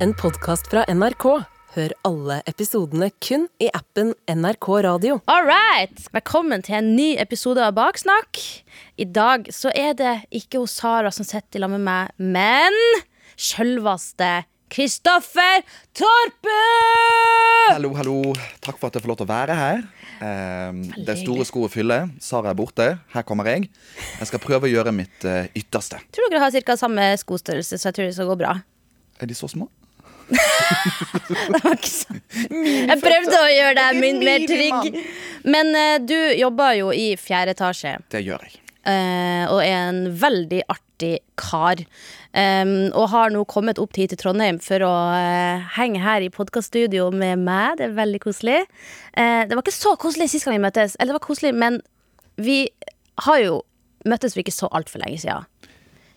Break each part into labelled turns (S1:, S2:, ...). S1: en podkast fra NRK. Hør alle episodene kun i appen NRK Radio.
S2: All right! Velkommen til en ny episode av Baksnakk. I dag så er det ikke hos Sara som sitter sammen med meg, men sjølveste Kristoffer Torpe!
S3: Hallo, hallo. Takk for at jeg får lov til å være her. Eh, det er store sko å fylle. Sara er borte. Her kommer jeg. Jeg skal prøve å gjøre mitt eh, ytterste.
S2: Tror dere har ca. samme skostørrelse, så jeg tror det skal gå bra.
S3: Er de så små?
S2: Det var ikke sant. Jeg prøvde å gjøre deg min- mer trygg. Men eh, du jobber jo i fjerde etasje.
S3: Det gjør jeg.
S2: eh, og er en veldig artig kar. Em, og har nå kommet opp hit til Trondheim for å eh, henge her i podkaststudio med meg. Det er veldig koselig. Eh, det var ikke så koselig sist gang vi møttes, eller det var koselig, men vi har jo møttes for ikke så altfor lenge siden.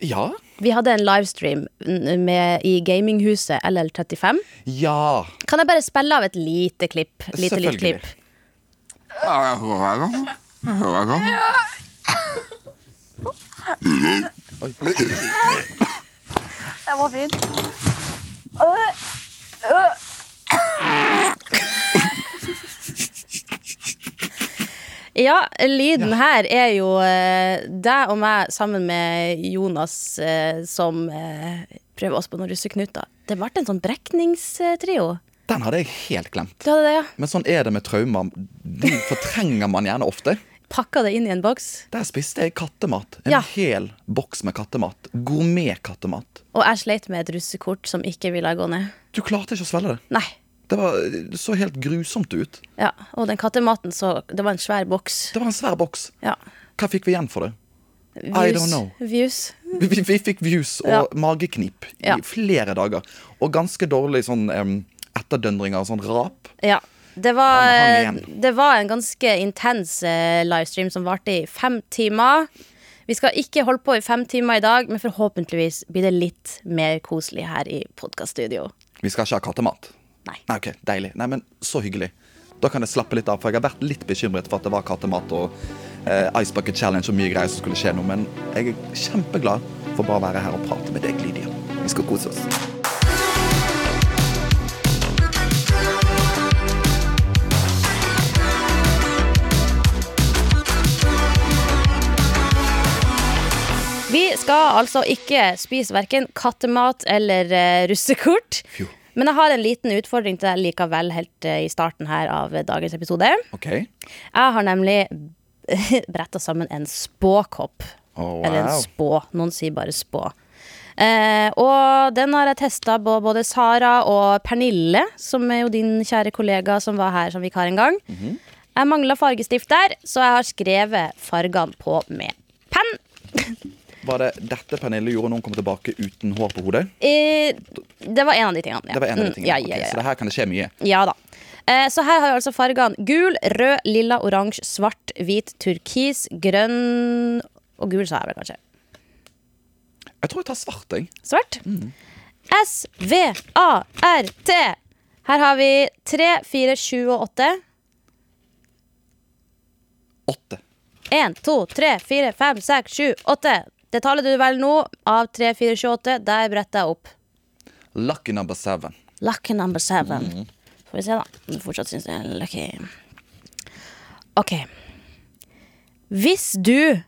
S3: Ja.
S2: Vi hadde en livestream mm, med, i gaminghuset LL35.
S3: Ja.
S2: Kan jeg bare spille av et lite klipp? Lite, lite
S3: Selvfølgelig.
S2: klipp?
S4: Den var fin.
S2: Ja, lyden her er jo eh, deg og meg sammen med Jonas eh, som eh, prøver oss på noen russeknuter. Det ble en sånn brekningstrio.
S3: Den hadde jeg helt glemt.
S2: Du hadde det, ja.
S3: Men sånn er det med traumer. De fortrenger man gjerne ofte.
S2: Pakka det inn i en boks.
S3: Der spiste jeg kattemat. En
S2: Ja.
S3: hel boks med kattemat. Gourmetkattemat.
S2: Og jeg sleit med et russekort som ikke ville gå ned.
S3: Du klarte ikke å svelge det.
S2: Nei.
S3: Det, var, det så helt grusomt ut.
S2: Ja, Og den kattematen, så Det var en svær boks.
S3: Det var en svær boks.
S2: Ja.
S3: Hva fikk vi igjen for det?
S2: Views.
S3: don't know.
S2: Views.
S3: Vi, vi, vi fikk views og
S2: Ja.
S3: mageknip i
S2: Ja.
S3: flere dager. Og ganske dårlig sånn em, etterdønninger og sånn rap.
S2: Ja. Det var,
S3: Den hang igjen.
S2: det var en ganske intens eh, livestream som varte i fem timer. Vi skal ikke holde på i fem timer i dag, men forhåpentligvis blir det litt mer koselig her i podkaststudio.
S3: Vi skal ikke ha kattemat.
S2: Nei.
S3: Nei, ok, Deilig. Nei, men så hyggelig. Da kan jeg slappe litt av, for jeg har vært litt bekymret for at det var kattemat og eh, Ice Bucket Challenge og mye greier som skulle skje nå, men jeg er kjempeglad for bare å være her og prate med deg, Lydia. Vi skal kose oss.
S2: Vi skal altså ikke spise verken kattemat eller eh, russekort.
S3: Fjo.
S2: Men jeg har en liten utfordring til deg likevel helt eh, i starten her av eh, dagens episode.
S3: OK?
S2: Jeg har nemlig bretta sammen en spåkopp.
S3: Oh,
S2: Eller en
S3: wow.
S2: spå. Noen sier bare spå. Eh, og den har jeg testa på både Sara og Pernille, som er jo din kjære kollega som var her som vikar en gang.
S3: Mhm.
S2: Jeg mangla fargestift der, så jeg har skrevet fargene på med penn.
S3: Var det dette Pernille gjorde når hun kom tilbake uten hår på hodet?
S2: Eh, det var en av de tingene. Ja,
S3: Det var en av de
S2: Mm,
S3: tingene.
S2: Ja,
S3: Ok,
S2: ja, ja,
S3: Så det her kan det skje mye.
S2: Ja da. Eh, Så her har vi altså fargene gul, rød, lilla, oransje, svart, hvit, turkis, grønn Og gul sa jeg vel kanskje.
S3: Jeg tror jeg tar svart, jeg.
S2: Svart. S-V-A-R-T. Her har vi tre, fire, sju og åtte.
S3: Åtte.
S2: Én, to, tre, fire, fem, seks, sju, åtte. Det tallet du velger nå, av tre, fire, sju, åtte, der bretter jeg opp.
S3: Lucky number seven.
S2: Lucky number seven. Får vi se, da. Om du fortsatt syns det er lucky. OK. Hvis du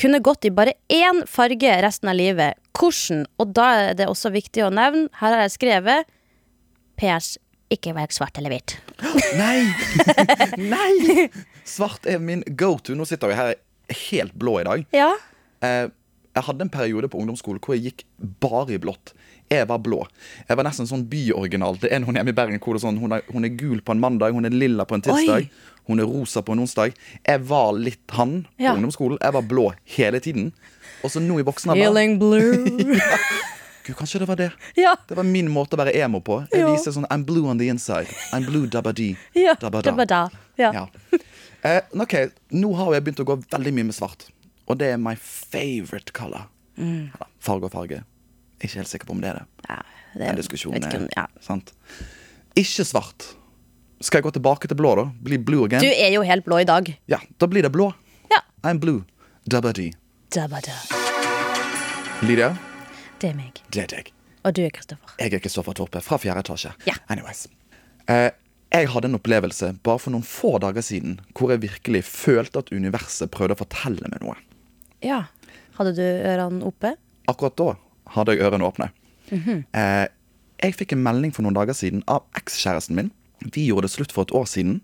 S2: kunne gått i bare én farge resten av livet, hvordan? Og da er det også viktig å nevne, her har jeg skrevet PS. Ikke velg svart eller hvit.
S3: Nei! Nei! Svart er min go-to. Nå sitter vi her helt blå i dag.
S2: Ja.
S3: Eh, Jeg hadde en periode på ungdomsskolen hvor jeg gikk bare i blått. Jeg var blå. Jeg var nesten sånn byoriginal. Det er noen hjemme i Bergen hvor det er sånn, hun, er, hun er gul på en mandag, hun er lilla på en tirsdag,
S2: Oi.
S3: hun er rosa på en onsdag. Jeg var litt han på
S2: Ja.
S3: ungdomsskolen. Jeg var blå hele tiden. Og så nå i voksen alder
S2: Feeling blue.
S3: Gud, kanskje det var det.
S2: ja.
S3: Det var min måte å være emo på. Jeg
S2: Ja.
S3: viser sånn I'm blue on the inside. I'm blue dabba-dee.
S2: ja.
S3: dabba-da.
S2: Dabba-da. Ja.
S3: Ja. Eh, men ok, Nå har jeg begynt å gå veldig mye med svart, og det er my favorite color.
S2: Mm.
S3: Eller, farge og farge. Jeg er ikke helt sikker på om det er det.
S2: Ja, det
S3: En
S2: er-
S3: diskusjon
S2: vet ikke
S3: er
S2: om- ja.
S3: sant? Ikke svart. Skal jeg gå tilbake til blå, da? Bli blue again?
S2: Du er jo helt blå i dag.
S3: Ja, da blir det blå.
S2: Ja.
S3: I'm blue. Dabba-dee.
S2: Dabba-da.
S3: Lydia,
S2: Det er meg.
S3: det er deg.
S2: Og du er Kristoffer.
S3: Jeg er Kristoffer Torpe fra 4. etasje.
S2: Ja.
S3: Anyways. Eh, jeg hadde en opplevelse bare for noen få dager siden hvor jeg virkelig følte at universet prøvde å fortelle meg noe.
S2: Ja. Hadde du ørene oppe?
S3: Akkurat da hadde jeg ørene åpne. eh, jeg fikk en melding for noen dager siden av ekskjæresten min. Vi gjorde det slutt for et år siden.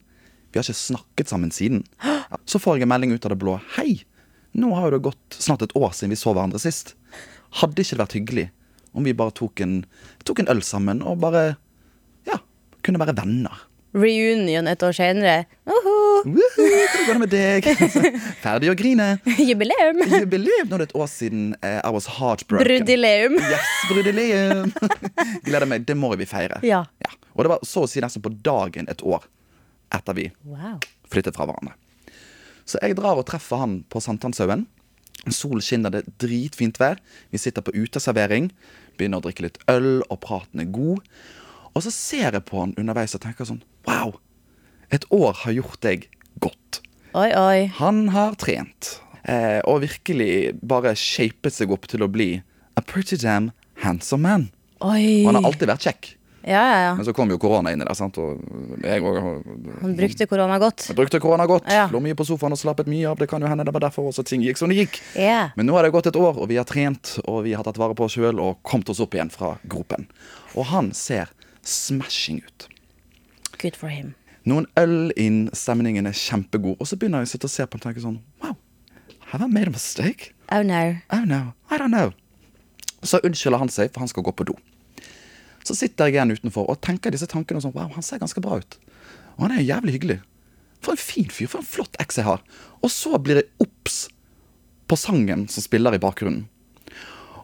S3: Vi har ikke snakket sammen siden. Så får jeg en melding ut av det blå. Hei! Nå har jo det gått snart et år siden vi så hverandre sist. Hadde ikke det vært hyggelig om vi bare tok en, tok en øl sammen og bare ja, kunne være venner?
S2: Reunion et år senere. Uhu,
S3: Woohoo, Hvordan går det med deg? Ferdig å grine.
S2: jubileum!
S3: Jubileum! Nå er det et år siden eh, I was heartbroken.
S2: Brudileum.
S3: Yes, brudileum! Gleder meg. Det må vi feire.
S2: Ja.
S3: Og det var så å si nesten på dagen et år etter vi
S2: Wow.
S3: flyttet fra hverandre. Så jeg drar og treffer han på Sankthanshaugen. Solen skinner, det er dritfint vær. Vi sitter på uteservering, begynner å drikke litt øl, og praten er god. Og så ser jeg på han underveis og tenker sånn Wow! Et år har gjort deg godt.
S2: Oi, oi.
S3: Han har trent eh, og virkelig bare shapet seg opp til å bli a pretty damn handsome man.
S2: Oi.
S3: Og han har alltid vært kjekk.
S2: Ja, ja, ja.
S3: Men så kom jo korona inn i det, sant? og jeg òg har-
S2: Han brukte korona godt.
S3: brukte korona godt.
S2: Ja.
S3: Lå mye på sofaen og slappet mye av. Det kan jo hende det var derfor også ting gikk som det gikk.
S2: Ja.
S3: Men nå har det gått et år, og vi har trent og vi har tatt vare på oss sjøl og kommet oss opp igjen fra gropen. Og han ser smashing ut.
S2: Good for him.
S3: Noen øl inn, stemningen er kjempegod, og så begynner jeg å sitte og se på ham og tenke sånn Wow, have I made a mistake?
S2: Oh no.
S3: Oh no, I don't know. Så unnskylder han seg, for han skal gå på do. Så sitter jeg igjen utenfor og tenker disse tankene og sånn Wow, han ser ganske bra ut. Og han er jo jævlig hyggelig. For en fin fyr. For en flott eks jeg har. Og så blir jeg obs på sangen som spiller i bakgrunnen.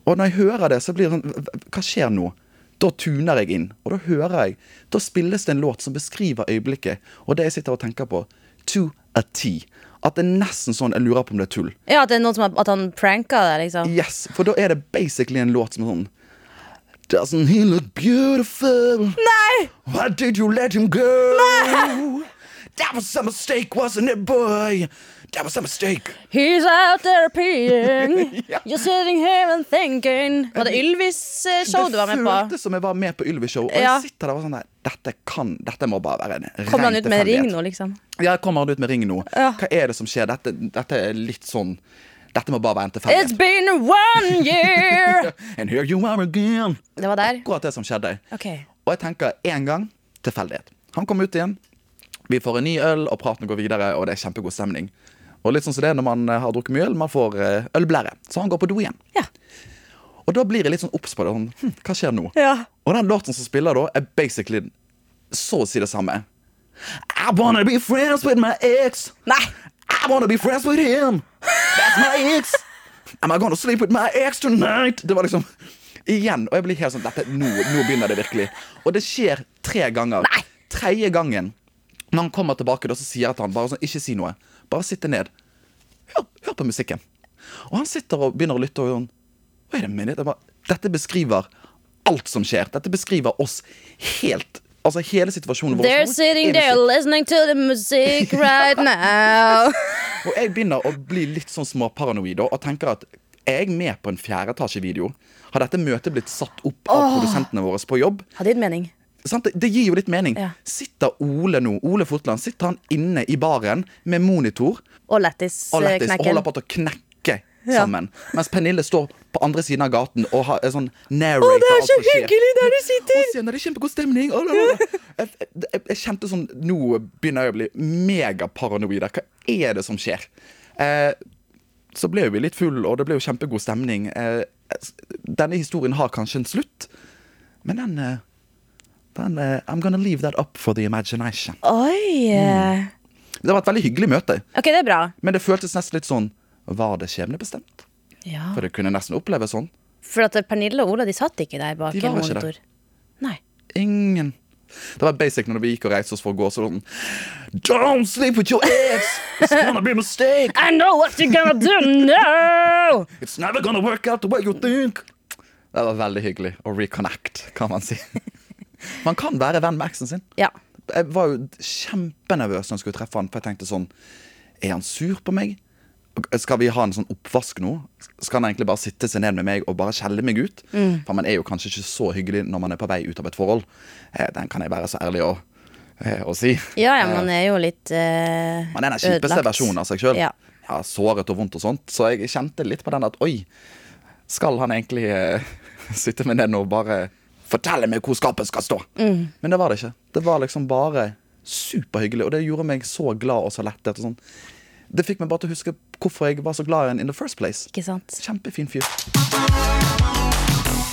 S3: Og når jeg hører det, så blir det sånn "Hva- Hva skjer nå? Da tuner jeg inn, og da hører jeg Da spilles det en låt som beskriver øyeblikket, og det jeg sitter og tenker på, to a T. At det er nesten sånn jeg lurer på om det er tull.
S2: Ja, at det er noen som har, at han pranka deg, liksom.
S3: Yes, for da er det basically en låt som er sånn Doesn't he look beautiful?
S2: Nei!
S3: Why did you let him go? That was a mistake, wasn't it, boy? That was a mistake.
S2: He's out there peeing. You're sitting here and thinking. Var det Ylvis-show du var med på?
S3: føltes som jeg var med på Ylvis-show. Og
S2: Ja.
S3: jeg sitter der og sånn der Dette kan Dette må bare være en ren
S2: Kom han ut med ring
S3: tilfeldighet.
S2: nå, liksom?
S3: Ja, kommer han ut med ring nå?
S2: Ja.
S3: Hva er det som skjer? Dette, dette er litt sånn Dette må bare være en
S2: It's
S3: tilfeldighet.
S2: been one year!
S3: And here you are again.
S2: Det var der?
S3: Akkurat det som skjedde.
S2: Ok.
S3: Og jeg tenker én gang tilfeldighet. Han kommer ut igjen, vi får en ny øl, og praten går videre, og det er kjempegod stemning. Og litt sånn som det er når man eh, har drukket mye øl, man får eh, ølblære. Så han går på do igjen.
S2: Ja.
S3: Og da blir jeg litt sånn obs på det. Sånn, hm, hva skjer nå?
S2: Ja.
S3: Og den låten som spiller da, er basically så å si det samme. I wanna be friends with my ex.
S2: Nei!
S3: I wanna be friends with him. That's my ex. Am I gonna sleep with my ex tonight? Det var liksom Igjen. Og jeg blir helt sånn dette, nå, nå begynner det virkelig. Og det skjer tre ganger.
S2: Nei.
S3: Tredje gangen når han kommer tilbake, da, så sier jeg til han bare sånn Ikke si noe. Bare sitte ned. Hør, hør på musikken. Og han sitter og begynner å lytte og sånn Wait a minute. Jeg bare, dette beskriver alt som skjer. Dette beskriver oss helt. Altså hele situasjonen vår.
S2: They're
S3: nå
S2: sitting
S3: er
S2: there
S3: musikk.
S2: listening to the music right now.
S3: Og jeg begynner å bli litt sånn småparanoid da, og tenker at er jeg med på en fjerde etasje-video? Har dette møtet blitt satt opp av produsentene våre på jobb?
S2: Hadde gitt mening.
S3: Sant? Det, det gir jo litt mening.
S2: Ja.
S3: Sitter Ole nå, Ole Fotland, sitter han inne i baren med monitor
S2: Og eh,
S3: og lettis og
S2: lættisknekken.
S3: holder på til å knekke
S2: Ja.
S3: sammen, mens Pernille står på andre siden av gaten og har en sånn narrate
S2: Å, det er
S3: alt
S2: så
S3: som skjer.
S2: hyggelig der du sitter!
S3: Og sier, "Nei, det er kjempegod stemning. å, la, la, la." Jeg, jeg, jeg kjente sånn Nå begynner jeg å bli megaparanoid. her. Hva er det som skjer? Eh, så ble jo vi litt full, og det ble jo kjempegod stemning. Eh, denne historien har kanskje en slutt, men den, eh, den eh, I'm gonna leave that up for the imagination.
S2: Oi!
S3: Mm. Det var et veldig hyggelig møte,
S2: Ok, det er bra.
S3: men det føltes nesten litt sånn Var det skjebnebestemt?
S2: Ja.
S3: For det kunne nesten oppleves sånn.
S2: For at eh, Pernille og Ola de satt ikke der bak
S3: De var
S2: en
S3: ikke
S2: monitor. Nei.
S3: Ingen. Det var basic når vi gikk og reiste oss for å gå sånn Don't sleep with your ex! It's gonna be a mistake!
S2: I know what you're gonna do now!
S3: It's never gonna work out the way you think! Det var veldig hyggelig å reconnect, kan man si. Man kan være venn med eksen sin.
S2: Ja.
S3: Jeg var jo kjempenervøs når jeg skulle treffe han, for jeg tenkte sånn Er han sur på meg? Skal vi ha en sånn oppvask nå? Skal han egentlig bare sitte seg ned med meg og bare skjelle meg ut? For man er jo kanskje ikke så hyggelig når man er på vei ut av et forhold. Eh, Den kan jeg være så ærlig å, eh, å si.
S2: Ja, ja, man er jo litt eh,
S3: Man er den kjipeste
S2: ødelagt.
S3: versjonen av seg sjøl.
S2: Ja.
S3: Ja, såret og vondt og sånt. Så jeg kjente litt på den at oi, skal han egentlig eh, sitte med den og bare fortelle meg hvor skapet skal stå?
S2: Mm.
S3: Men det var det ikke. Det var liksom bare superhyggelig, og det gjorde meg så glad og så lettet. Og sånn. Det fikk meg bare til å huske hvorfor jeg var så glad i han in the first place.
S2: Ikke sant?
S3: Kjempefin fyr.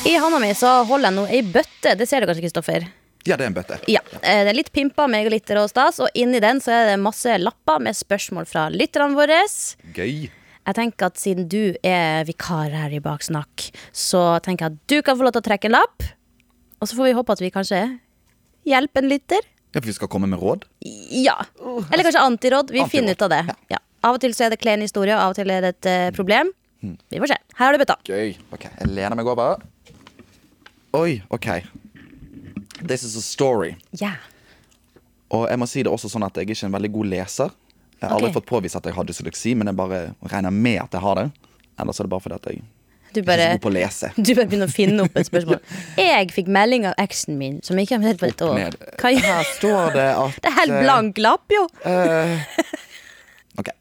S2: I handa mi så holder jeg nå ei bøtte. Det ser du kanskje, Kristoffer?
S3: Ja, det er en bøtte.
S2: Ja, eh, Det er litt pimpa, megalitter og stas, og inni den så er det masse lapper med spørsmål fra lytterne våre.
S3: Gøy.
S2: Jeg tenker at Siden du er vikar her i Baksnakk, så tenker jeg at du kan få lov til å trekke en lapp. Og så får vi håpe at vi kanskje hjelper en lytter.
S3: Ja, for vi skal komme med råd.
S2: Ja. Eller kanskje antiråd. Vi
S3: Antiråd,
S2: finner ut av det. Ja. Av og til så er det klen historie, og av og til er det et eh, problem.
S3: Hmm.
S2: Vi får se. Her har du bøtta.
S3: Gøy. Ok, jeg lener meg over. Oi, ok. This is a story.
S2: Ja.
S3: Og jeg må si det også sånn at jeg er ikke en veldig god leser. Jeg har aldri
S2: Ok.
S3: fått påvist at jeg har dysleksi, men jeg bare regner med at jeg har det. Ellers er det bare fordi at jeg
S2: Du
S3: ikke er
S2: bare
S3: så god på å lese.
S2: Du bare begynner å finne opp et spørsmål. Jeg fikk melding av eksen min, som jeg ikke har sett på et
S3: Opp
S2: år.
S3: ned.
S2: Hva gjør
S3: Her står det at
S2: Det er helt
S3: eh,
S2: blank lapp, jo.
S3: eh, OK.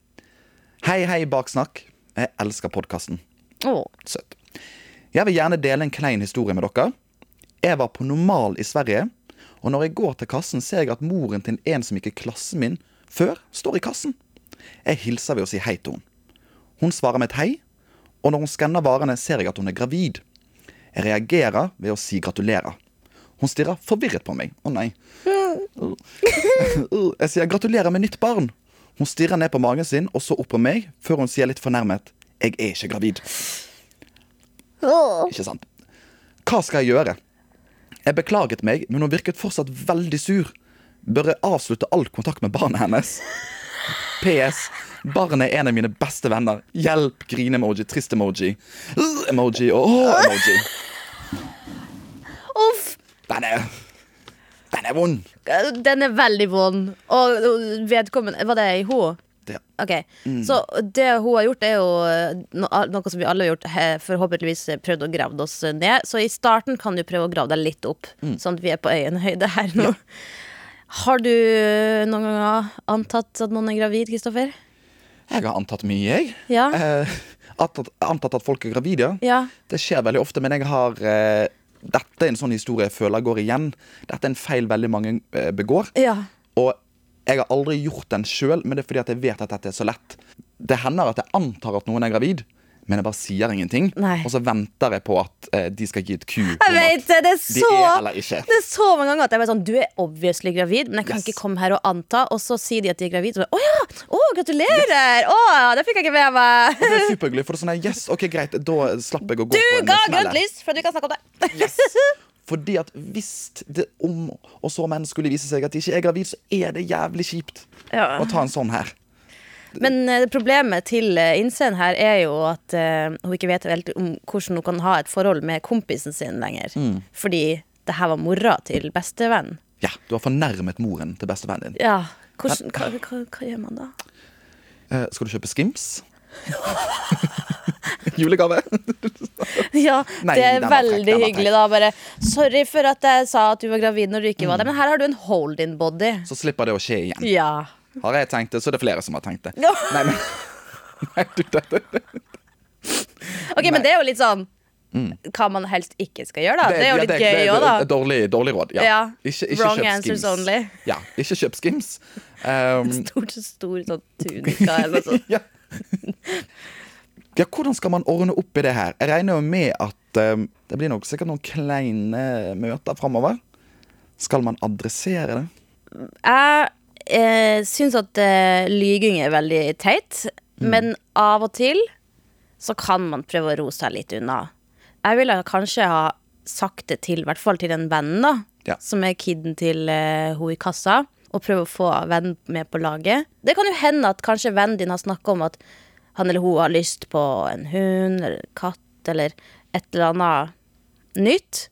S3: Hei, hei, Baksnakk. Jeg elsker podkasten.
S2: Åh.
S3: Søtt. Jeg vil gjerne dele en klein historie med dere. Jeg var på normal i Sverige, og når jeg går til kassen, ser jeg at moren til en som gikk i klassen min før, står i kassen. Jeg hilser ved å si hei til henne. Hun svarer med et hei, og når hun skanner varene, ser jeg at hun er gravid. Jeg reagerer ved å si gratulerer. Hun stirrer forvirret på meg. Å nei. Uh, Jeg sier gratulerer med nytt barn. Hun stirrer ned på magen sin og så opp på meg, før hun sier litt fornærmet jeg er ikke gravid. Ikke sant? Hva skal jeg gjøre? Jeg beklaget meg, men hun virket fortsatt veldig sur. Bør jeg avslutte all kontakt med barnet hennes? PS. Barnet er en av mine beste venner. Hjelp! Grine-emoji, trist-emoji, uh, emoji og åh-emoji.
S2: Uff!
S3: Den er Den er vond.
S2: Den er veldig vond. Og og vedkommende Var det i hun?
S3: Det,
S2: Ok, Så det hun har gjort, er jo eh, no- noe som vi alle har gjort. he- Forhåpentligvis eh, prøvd å grave oss ned. Så i starten kan du prøve å grave deg litt opp, sånn at vi er på øyenhøyde her nå. Har du noen ganger antatt at noen er gravid, Kristoffer?
S3: jeg har antatt mye, jeg.
S2: Ja.
S3: Eh, antatt, antatt at folk er gravide.
S2: Ja.
S3: Det skjer veldig ofte, men jeg har eh, Dette er en sånn historie jeg føler går igjen. Dette er en feil veldig mange eh, begår.
S2: Ja.
S3: Og jeg har aldri gjort den sjøl, men det er fordi at jeg vet at dette er så lett. Det hender at jeg antar at noen er gravid, men jeg bare sier ingenting.
S2: Nei.
S3: Og så venter jeg på at eh, de skal gi et ku. om
S2: Jeg vet
S3: at
S2: det! Det er
S3: de
S2: så
S3: er eller ikke.
S2: Det er så mange ganger at jeg bare sånn Du er obviously gravid, men jeg kan
S3: Yes.
S2: ikke komme her og anta. Og så sier de at de er gravid, og så bare Å ja! Å, gratulerer! Å, det fikk jeg ikke med meg!
S3: Det er superhyggelig, for det er sånn her, yes, ok, greit, da slapp jeg å gå
S2: Du
S3: på en
S2: ga
S3: smell
S2: grønt
S3: her.
S2: lys for at vi kan snakke om det!
S3: Yes. Fordi at hvis det om og så menn skulle vise seg at de ikke er gravid, så er det jævlig kjipt
S2: Ja.
S3: å ta en sånn her.
S2: Men eh, problemet til eh, innsend her er jo at eh, hun ikke vet helt om hvordan hun kan ha et forhold med kompisen sin lenger.
S3: Mm.
S2: Fordi det her var mora til bestevennen.
S3: Ja, du har fornærmet moren til bestevennen din.
S2: Ja. Hvordan, hva, hva, hva gjør man da?
S3: Eh, skal du kjøpe Skims? Julegave?
S2: Ja,
S3: Nei,
S2: det er
S3: den var frekk,
S2: veldig
S3: den var
S2: hyggelig, da. Bare sorry for at jeg sa at du var gravid når du ikke
S3: Mm.
S2: var det, men her har du en hold-in-body.
S3: Så slipper det å skje igjen.
S2: Ja.
S3: Har jeg tenkt det, så er det flere som har tenkt det.
S2: Ja.
S3: Nei, men Nei, du, dette det,
S2: Ok, men det er jo litt sånn hva man helst ikke skal gjøre, da. Det, er jo
S3: ja,
S2: litt
S3: Mm. det- det-
S2: gøy òg,
S3: det er
S2: da.
S3: Dårlig, dårlig råd. Ja.
S2: Ja.
S3: Ikke, ikke
S2: Wrong
S3: kjøp
S2: answers
S3: Skims.
S2: only.
S3: Ja, ikke kjøp Skims. Um,
S2: Stor, stor sånn tunika eller noe sånt.
S3: ja. ja, hvordan skal man ordne opp i det her? Jeg regner jo med at um, det blir nok sikkert noen kleine møter framover. Skal man adressere det?
S2: Jeg eh, syns at eh, lyging er veldig teit, men av og til så kan man prøve å roe seg litt unna. Jeg ville kanskje ha sagt det til, i hvert fall til den vennen, da,
S3: Ja.
S2: som er kiden til eh, hun i kassa, og prøve å få vennen med på laget. Det kan jo hende at kanskje vennen din har snakka om at han eller hun har lyst på en hund eller en katt eller et eller annet nytt.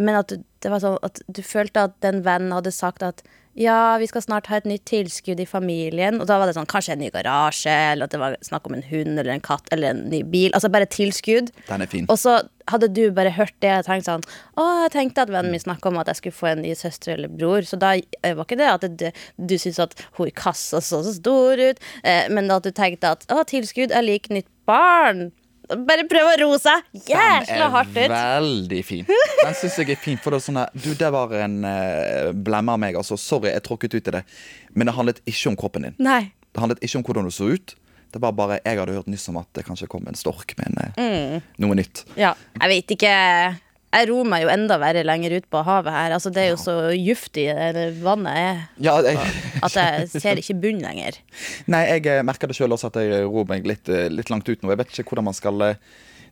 S2: Men at du- det var sånn at du følte at den vennen hadde sagt at Ja, vi skal snart ha et nytt tilskudd i familien. Og da var det sånn, kanskje en ny garasje, eller at det var snakk om en hund eller en katt eller en ny bil. Altså bare tilskudd.
S3: Den er fin.
S2: Og så hadde du bare hørt det og tenkt sånn Å, jeg tenkte at vennen min snakka om at jeg skulle få en ny søster eller bror. Så da eh, var ikke det at det, du syntes at hun i kassa så så stor ut, eh, men at du tenkte at å, tilskudd, jeg liker nytt barn. Bare prøv å roe seg jæsla hardt
S3: Den
S2: ut.
S3: er veldig fin. Den syns jeg er fin. For det er sånn her, du, det var en eh, blemme av meg. Altså, sorry, jeg tråkket ut i det. Men det handlet ikke om kroppen din.
S2: Nei.
S3: Det handlet ikke om hvordan du så ut. Det var bare, Jeg hadde hørt nyss om at det kanskje kom en stork med en,
S2: Mm.
S3: eh, noe nytt.
S2: Ja. Jeg vet ikke. Jeg ror meg jo enda verre lenger ut på havet her. Altså, det er jo så giftig det vannet er,
S3: Ja, jeg,
S2: at jeg ser ikke bunn lenger.
S3: nei, jeg eh, merker det sjøl også at jeg ror meg litt, eh, litt langt ut nå. Jeg vet ikke hvordan man skal eh,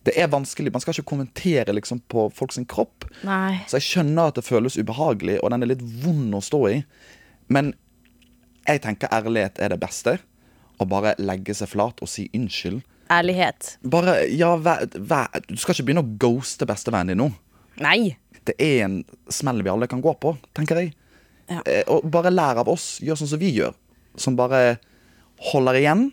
S3: Det er vanskelig. Man skal ikke kommentere liksom, på folk sin kropp.
S2: Nei.
S3: Så jeg skjønner at det føles ubehagelig, og den er litt vond å stå i. Men jeg tenker ærlighet er det beste. Å bare legge seg flat og si unnskyld.
S2: Ærlighet.
S3: Bare, ja, vær, vær, Du skal ikke begynne å ghoste bestevennen din nå.
S2: Nei.
S3: Det er en smell vi alle kan gå på, tenker jeg.
S2: Ja.
S3: Eh, Og bare lær av oss. Gjør sånn som vi gjør. Som bare holder igjen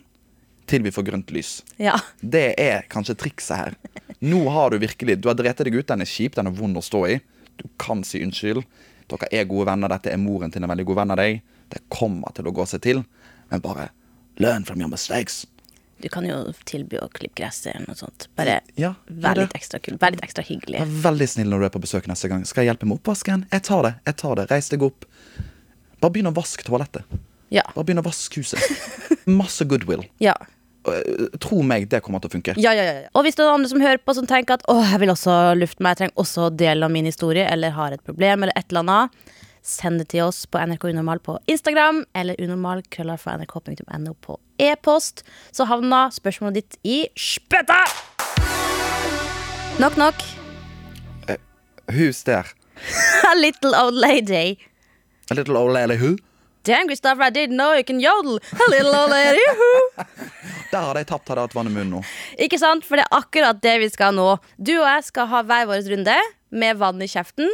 S3: til vi får grønt lys.
S2: Ja.
S3: Det er kanskje trikset her. Nå har du virkelig Du har drept deg ut. Den er kjip, den er vond å stå i. Du kan si unnskyld. Dere er gode venner. Dette er moren til en veldig god venn av deg. Det kommer til å gå seg til. Men bare learn from your mistakes.
S2: Du kan jo tilby å klippe gresset eller noe sånt. Bare
S3: Ja, gjør
S2: vær
S3: det.
S2: litt ekstra kul. Vær litt ekstra hyggelig.
S3: Vær veldig snill når du er på besøk neste gang. Skal jeg hjelpe med oppvasken? Jeg tar det. jeg tar det. Reis deg opp. Bare begynn å vaske toalettet.
S2: Ja.
S3: Bare begynn å vaske huset. Masse goodwill.
S2: Ja.
S3: Eh, Tro meg, det kommer til å funke.
S2: Ja, ja, ja. ja. Og hvis det er andre som hører på som tenker at åh, jeg vil også lufte meg, jeg trenger også å dele av min historie, eller har et problem, eller et eller annet, send det til oss på NRK Unormal på Instagram, eller unormal.nrk.no på e-post, så havner spørsmålet ditt i spøtta! Knock, knock.
S3: Hus der.
S2: A little old lady.
S3: A little old lady who?
S2: Damn, Kristoffer, I didn't know you can yodel. A little old lady. Who?
S3: Der hadde jeg tapt, hadde jeg hatt vann i munnen nå.
S2: Ikke sant? For det er akkurat det vi skal nå. Du og jeg skal ha hver vår runde med vann i kjeften.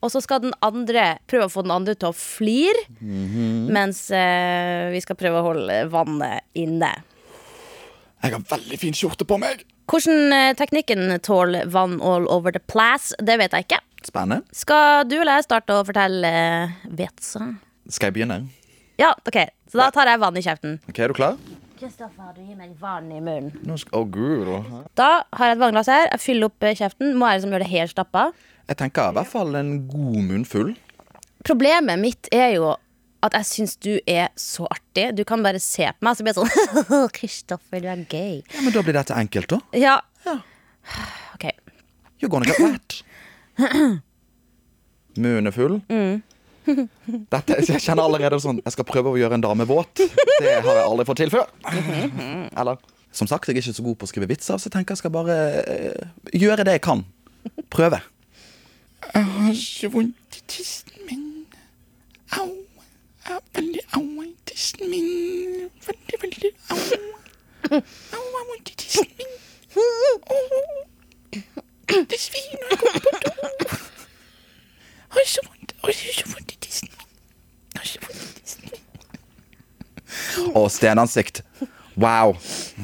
S2: Og så skal den andre prøve å få den andre til å flire, mens eh, vi skal prøve å holde vannet inne.
S3: Jeg har veldig fin skjorte på meg.
S2: Hvordan eh, teknikken tåler vann all over the place, det vet jeg ikke.
S3: Spennende.
S2: Skal du eller jeg starte å fortelle eh, Vet så?
S3: Skal jeg begynne?
S2: Ja, OK. Så da tar jeg vann i kjeften.
S3: Ok, Er du klar?
S2: Kristoffer, du gir meg vann i munnen.
S3: Nå skal, Å, gud.
S2: Da har jeg et vannglass her. Jeg fyller opp eh, kjeften. Må jeg liksom gjøre det helt stappa?
S3: Jeg tenker i hvert fall en god munnfull.
S2: Problemet mitt er jo at jeg syns du er så artig. Du kan bare se på meg, så blir jeg sånn Kristoffer, du er gay.
S3: Ja, Men da blir dette enkelt, da.
S2: Ja. OK.
S3: You're gonna get wet. Munnen er full. Dette, jeg kjenner allerede sånn Jeg skal prøve å gjøre en dame våt. Det har jeg aldri fått til før. Eller Som sagt, jeg er ikke så god på å skrive vitser, så jeg tenker jeg skal bare eh, gjøre det jeg kan. Prøve. Jeg har ikke vondt i tissen min. Au. Jeg har veldig au i tissen min. Veldig, veldig au. Au, jeg har vondt i tissen min. Au. Det svir når jeg går på do. Har så vondt. Har så vondt i tissen. Har så vondt i tissen. Å, stenansikt. Wow.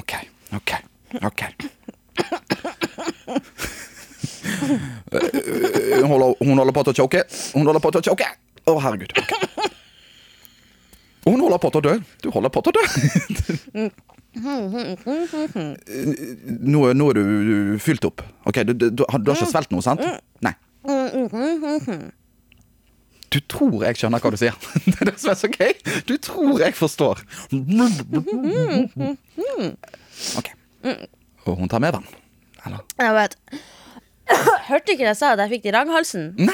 S3: OK, OK, OK. Hun holder, hun holder på til å choke. Hun holder på til å choke. Å, herregud. ok. Hun holder på til å dø. Du holder på til å dø. nå, nå er du fylt opp. Ok, du, du, du, har- du har ikke svelget noe, sant? Nei. Du tror jeg skjønner hva du sier. Det er det som er så gøy. Du tror jeg forstår. Ok. Og hun tar med vann. Eller?
S2: Jeg vet. Hørte du ikke det jeg sa at jeg fikk det i ranghalsen?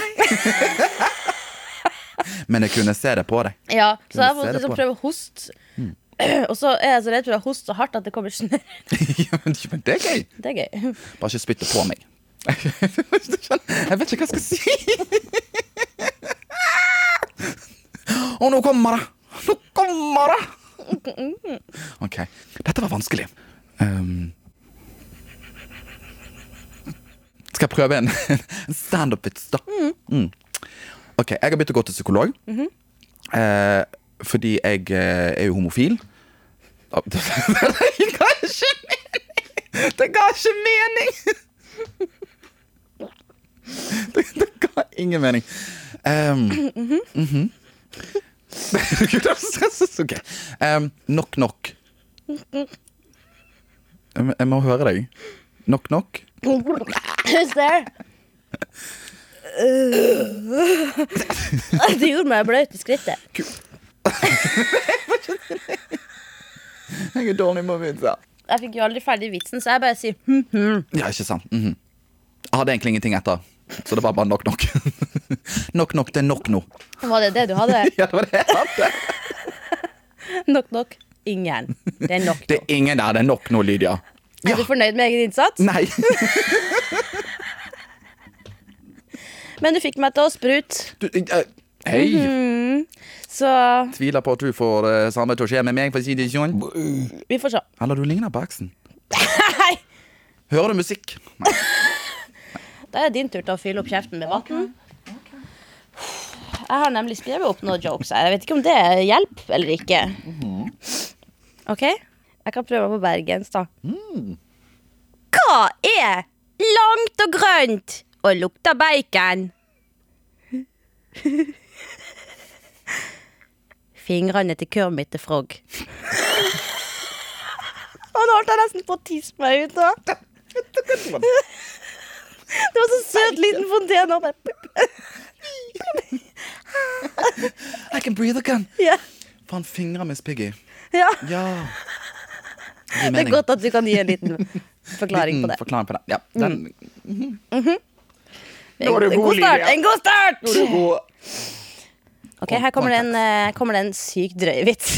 S3: Men jeg kunne se det på deg.
S2: Ja, så jeg
S3: du se
S2: måtte
S3: det
S2: liksom
S3: på deg?
S2: prøve å hoste. Og så er jeg så redd for å hoste så hardt at det kommer snørr.
S3: Ja, men- Men det er gøy.
S2: Det er gøy.
S3: Bare ikke spytte på meg. Jeg vet ikke hva jeg skal si. Og nå kommer det! Nå kommer det! OK. Dette var vanskelig. Ehm. skal jeg prøve Mm. en, en standup-vits, da? Mm. OK, jeg har begynt å gå til psykolog. Eh, fordi jeg eh, er jo homofil. Ah, Det det ga ikke mening! Det ga ikke mening! Det, det ga ingen mening. Um, mhm. Gud, jeg er så stresset. Ok. Em, nok, nok. Jeg, må- jeg må høre deg. Nok, nok.
S2: Who's there? Øh. Det gjorde meg blaut i skrittet.
S3: Jeg er dårlig på vitser.
S2: Jeg fikk jo aldri ferdig vitsen, så jeg bare sier hm, hm.
S3: Ja, ikke sant. Mhm. Jeg hadde egentlig ingenting etter, så det var bare nok, nok. nok, nok, det er nok nå.
S2: Var det det du hadde?
S3: Ja, det var det jeg hadde.
S2: Nok, nok. Ingen. Det er nok.
S3: Det er ingen der, det er nok nå, Lydia.
S2: Er du fornøyd med egen innsats?
S3: Nei.
S2: Men du fikk meg til å sprute,
S3: Du, eh, hei.
S2: så
S3: Tviler på at du får det samme til å skje med meg, for å si det sånn.
S2: vi får se.
S3: Eller du ligner på eksen.
S2: Hei!
S3: Hører du musikk? Nei.
S2: Da er det din tur til å fylle opp kjeften med vann. Jeg har nemlig skrevet opp noen jokes her. Jeg vet ikke om det hjelper eller ikke. OK? Jeg kan prøve meg på bergensk, da. Hva er langt og grønt og lukter bacon? Fingrene til Kermit the Frog. Og nå holdt jeg nesten på å tisse meg ut. da. Det var så søt liten fontene. og bare-
S3: I can breathe again.
S2: Ja.
S3: Faen, fingre Miss Piggy.
S2: Ja,
S3: Ja. Gir
S2: det er
S3: mening.
S2: godt at du kan gi en liten forklaring på
S3: Liten
S2: det. Mm.
S3: Forklaring på det. Ja, den
S2: En, en god start! En god start!
S3: god.
S2: Ok, Her kommer det en, eh, kommer det en sykt drøy vits.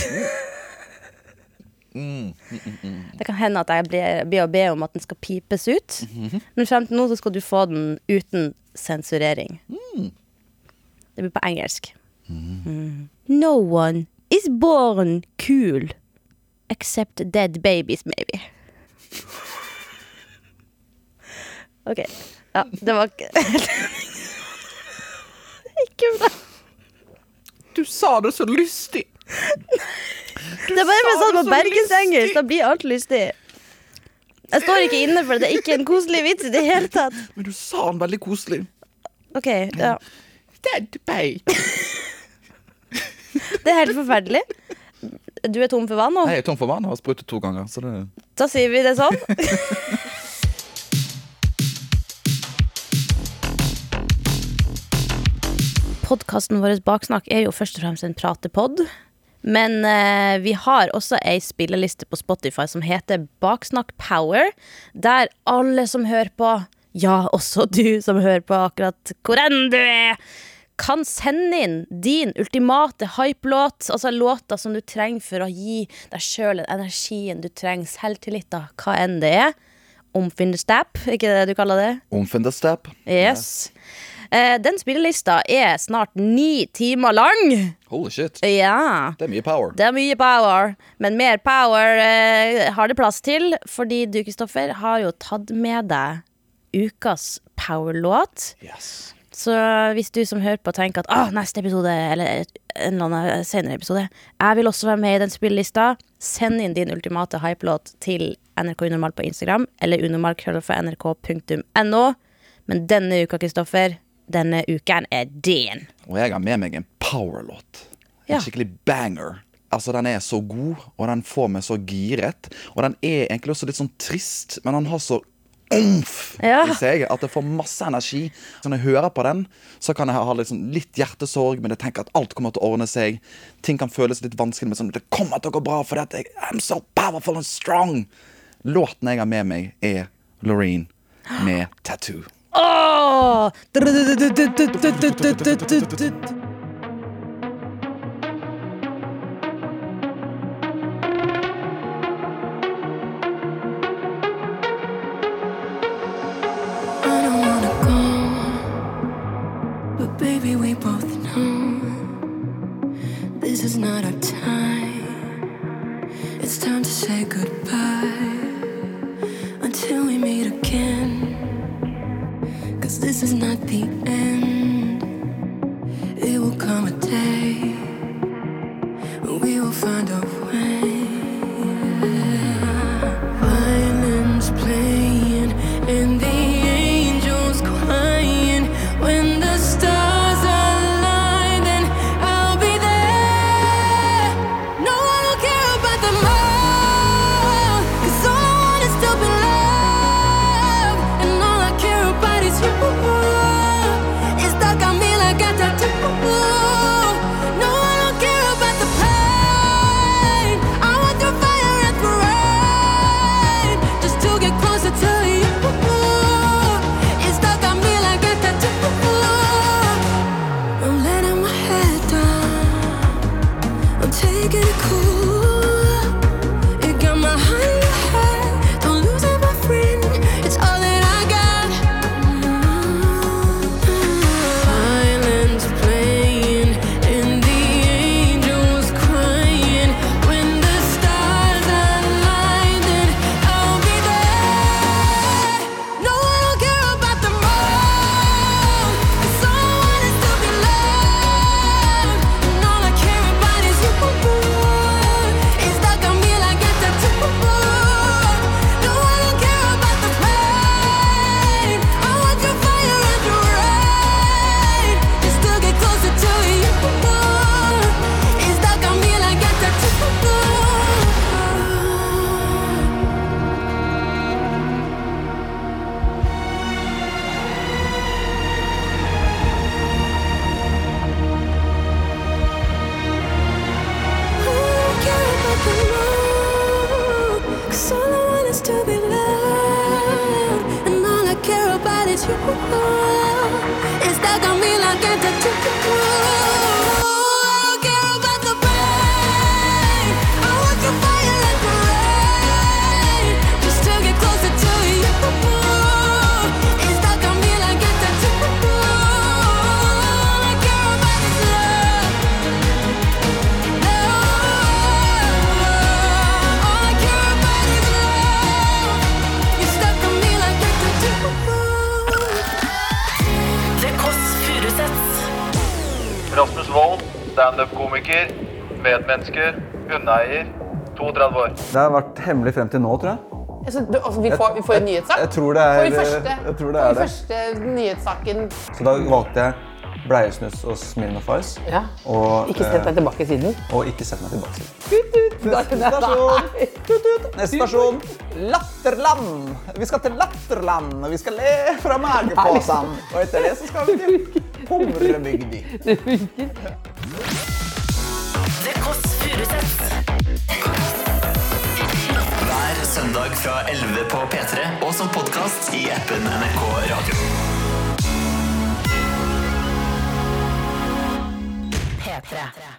S2: Det kan hende at jeg blir- blir å be om at den skal pipes ut. Men frem til nå så skal du få den uten sensurering. Det blir på engelsk. Mm. No one is born cool except dead babies, maybe. Ok. Ja, det var ikke Ikke bra.
S3: Du sa det så lystig.
S2: Det er bare for
S3: sa
S2: sånn
S3: det
S2: på
S3: så
S2: bergensengelsk.
S3: lystig.
S2: Da blir alt lystig. Jeg står ikke inne for det. Det er ikke en koselig vits i det hele tatt.
S3: Men du sa den veldig koselig.
S2: Ok, ja.
S3: Dead bay.
S2: Det er helt forferdelig. Du er tom for vann nå.
S3: Jeg er tom for vann og har sprutet to ganger. Så det...
S2: Da sier vi det sånn. Podkasten vår Baksnakk er jo først og fremst en pratepod. Men eh, vi har også ei spilleliste på Spotify som heter Baksnakk Power. Der alle som hører på, ja, også du som hører på akkurat hvor enn du er, kan sende inn din ultimate hype-låt. Altså låter som du trenger for å gi deg sjøl den energien du trenger, selvtilliten, hva enn det er. Omfinderstap, er ikke det du kaller det?
S3: Omfinderstep.
S2: Yes. Eh, den spillelista er snart ni timer lang.
S3: Holy shit.
S2: Ja.
S3: Det er mye power.
S2: Det er mye power, men mer power eh, har det plass til, fordi du, Kristoffer, har jo tatt med deg ukas powerlåt.
S3: Yes.
S2: Så hvis du som hører på tenker at «Åh, neste episode, eller en eller annen senere episode, jeg vil også være med i den spillelista, send inn din ultimate hype-låt til NRK Unormal på Instagram, eller unormalkrøllalfa.nrk.no. Men denne uka, Kristoffer, denne uken er din.
S3: Og jeg har med meg en power-låt. En
S2: Ja.
S3: skikkelig banger. Altså, Den er så god, og den får meg så giret. Og den er egentlig også litt sånn trist, men den har så omf
S2: Ja.
S3: i seg at jeg får masse energi. Så når jeg hører på den, så kan jeg ha litt, sånn, litt hjertesorg, men jeg tenker at alt kommer til å ordne seg. Ting kan føles litt vanskelig, men sånn, det kommer til å gå bra, for at jeg I'm so powerful and strong. Låten jeg har med meg, er Loreen med Tattoo.
S2: Åh!
S4: I don't wanna go, but baby, we both know this is not our time. It's time to say goodbye until we meet again. Cause this is not the end, it will come a day find a way. Violins playing and the angels crying. When the stars align, then I'll be there. No one will care about the mouth. 'Cause all I want is to be loved. And all I care about is you. It's stuck on me like a tattoo. No, I don't care about the pain. I want the fire and the rain. Just to get closer to you. It's stuck on me like a tattoo. I'm letting my head down. I'm taking it cool. You got my heart in your hand. Don't lose it, my friend. It's all that I got. Violins playing and the angels crying. When the stars align, then I'll be there. No, I don't care about the moon. 'Cause all I want is to be loved, and all I care about is you. It's stuck on me like a tattoo. No, I don't care about the pain. I want your fire and your rain. Just to get closer to you. It's stuck on me like a tattoo. Cause all I want is to be loved And all I care about is you It's stuck on me like a tattoo I don't care about the pain I want your fire and your rain Just to get closer to you It's stuck on me like a tattoo All I care about is love all I care about is love. You're stuck on me like a tattoo.
S5: Det Kåss Furuseths.
S6: Rasmus Wold, standup-komiker, medmenneske, hundeeier, 32 år.
S7: Det har vært hemmelig frem til nå, tror jeg.
S8: Altså, du, altså, vi, får, vi får en nyhetssak?
S7: Jeg tror det er,
S8: får vi første,
S7: jeg tror det,
S8: får
S7: er
S8: vi
S7: det.
S8: første nyhetssaken
S7: Så da valgte jeg bleiesnuss og Smirnoff Ice.
S8: ja.
S7: Og,
S8: Ikke sett deg tilbake siden.
S7: eh, og ikke sett meg tilbake.
S8: Neste
S7: Neste stasjon Latterland. Vi skal til Latterland, og vi skal le fra
S8: liksom.
S7: mageposen. Og etter det så skal vi til Humrebygdi.
S5: Det Kåss Furuseths.
S9: Hver søndag fra 11 på P3 og som podkast i appen NRK Radio.
S5: P3.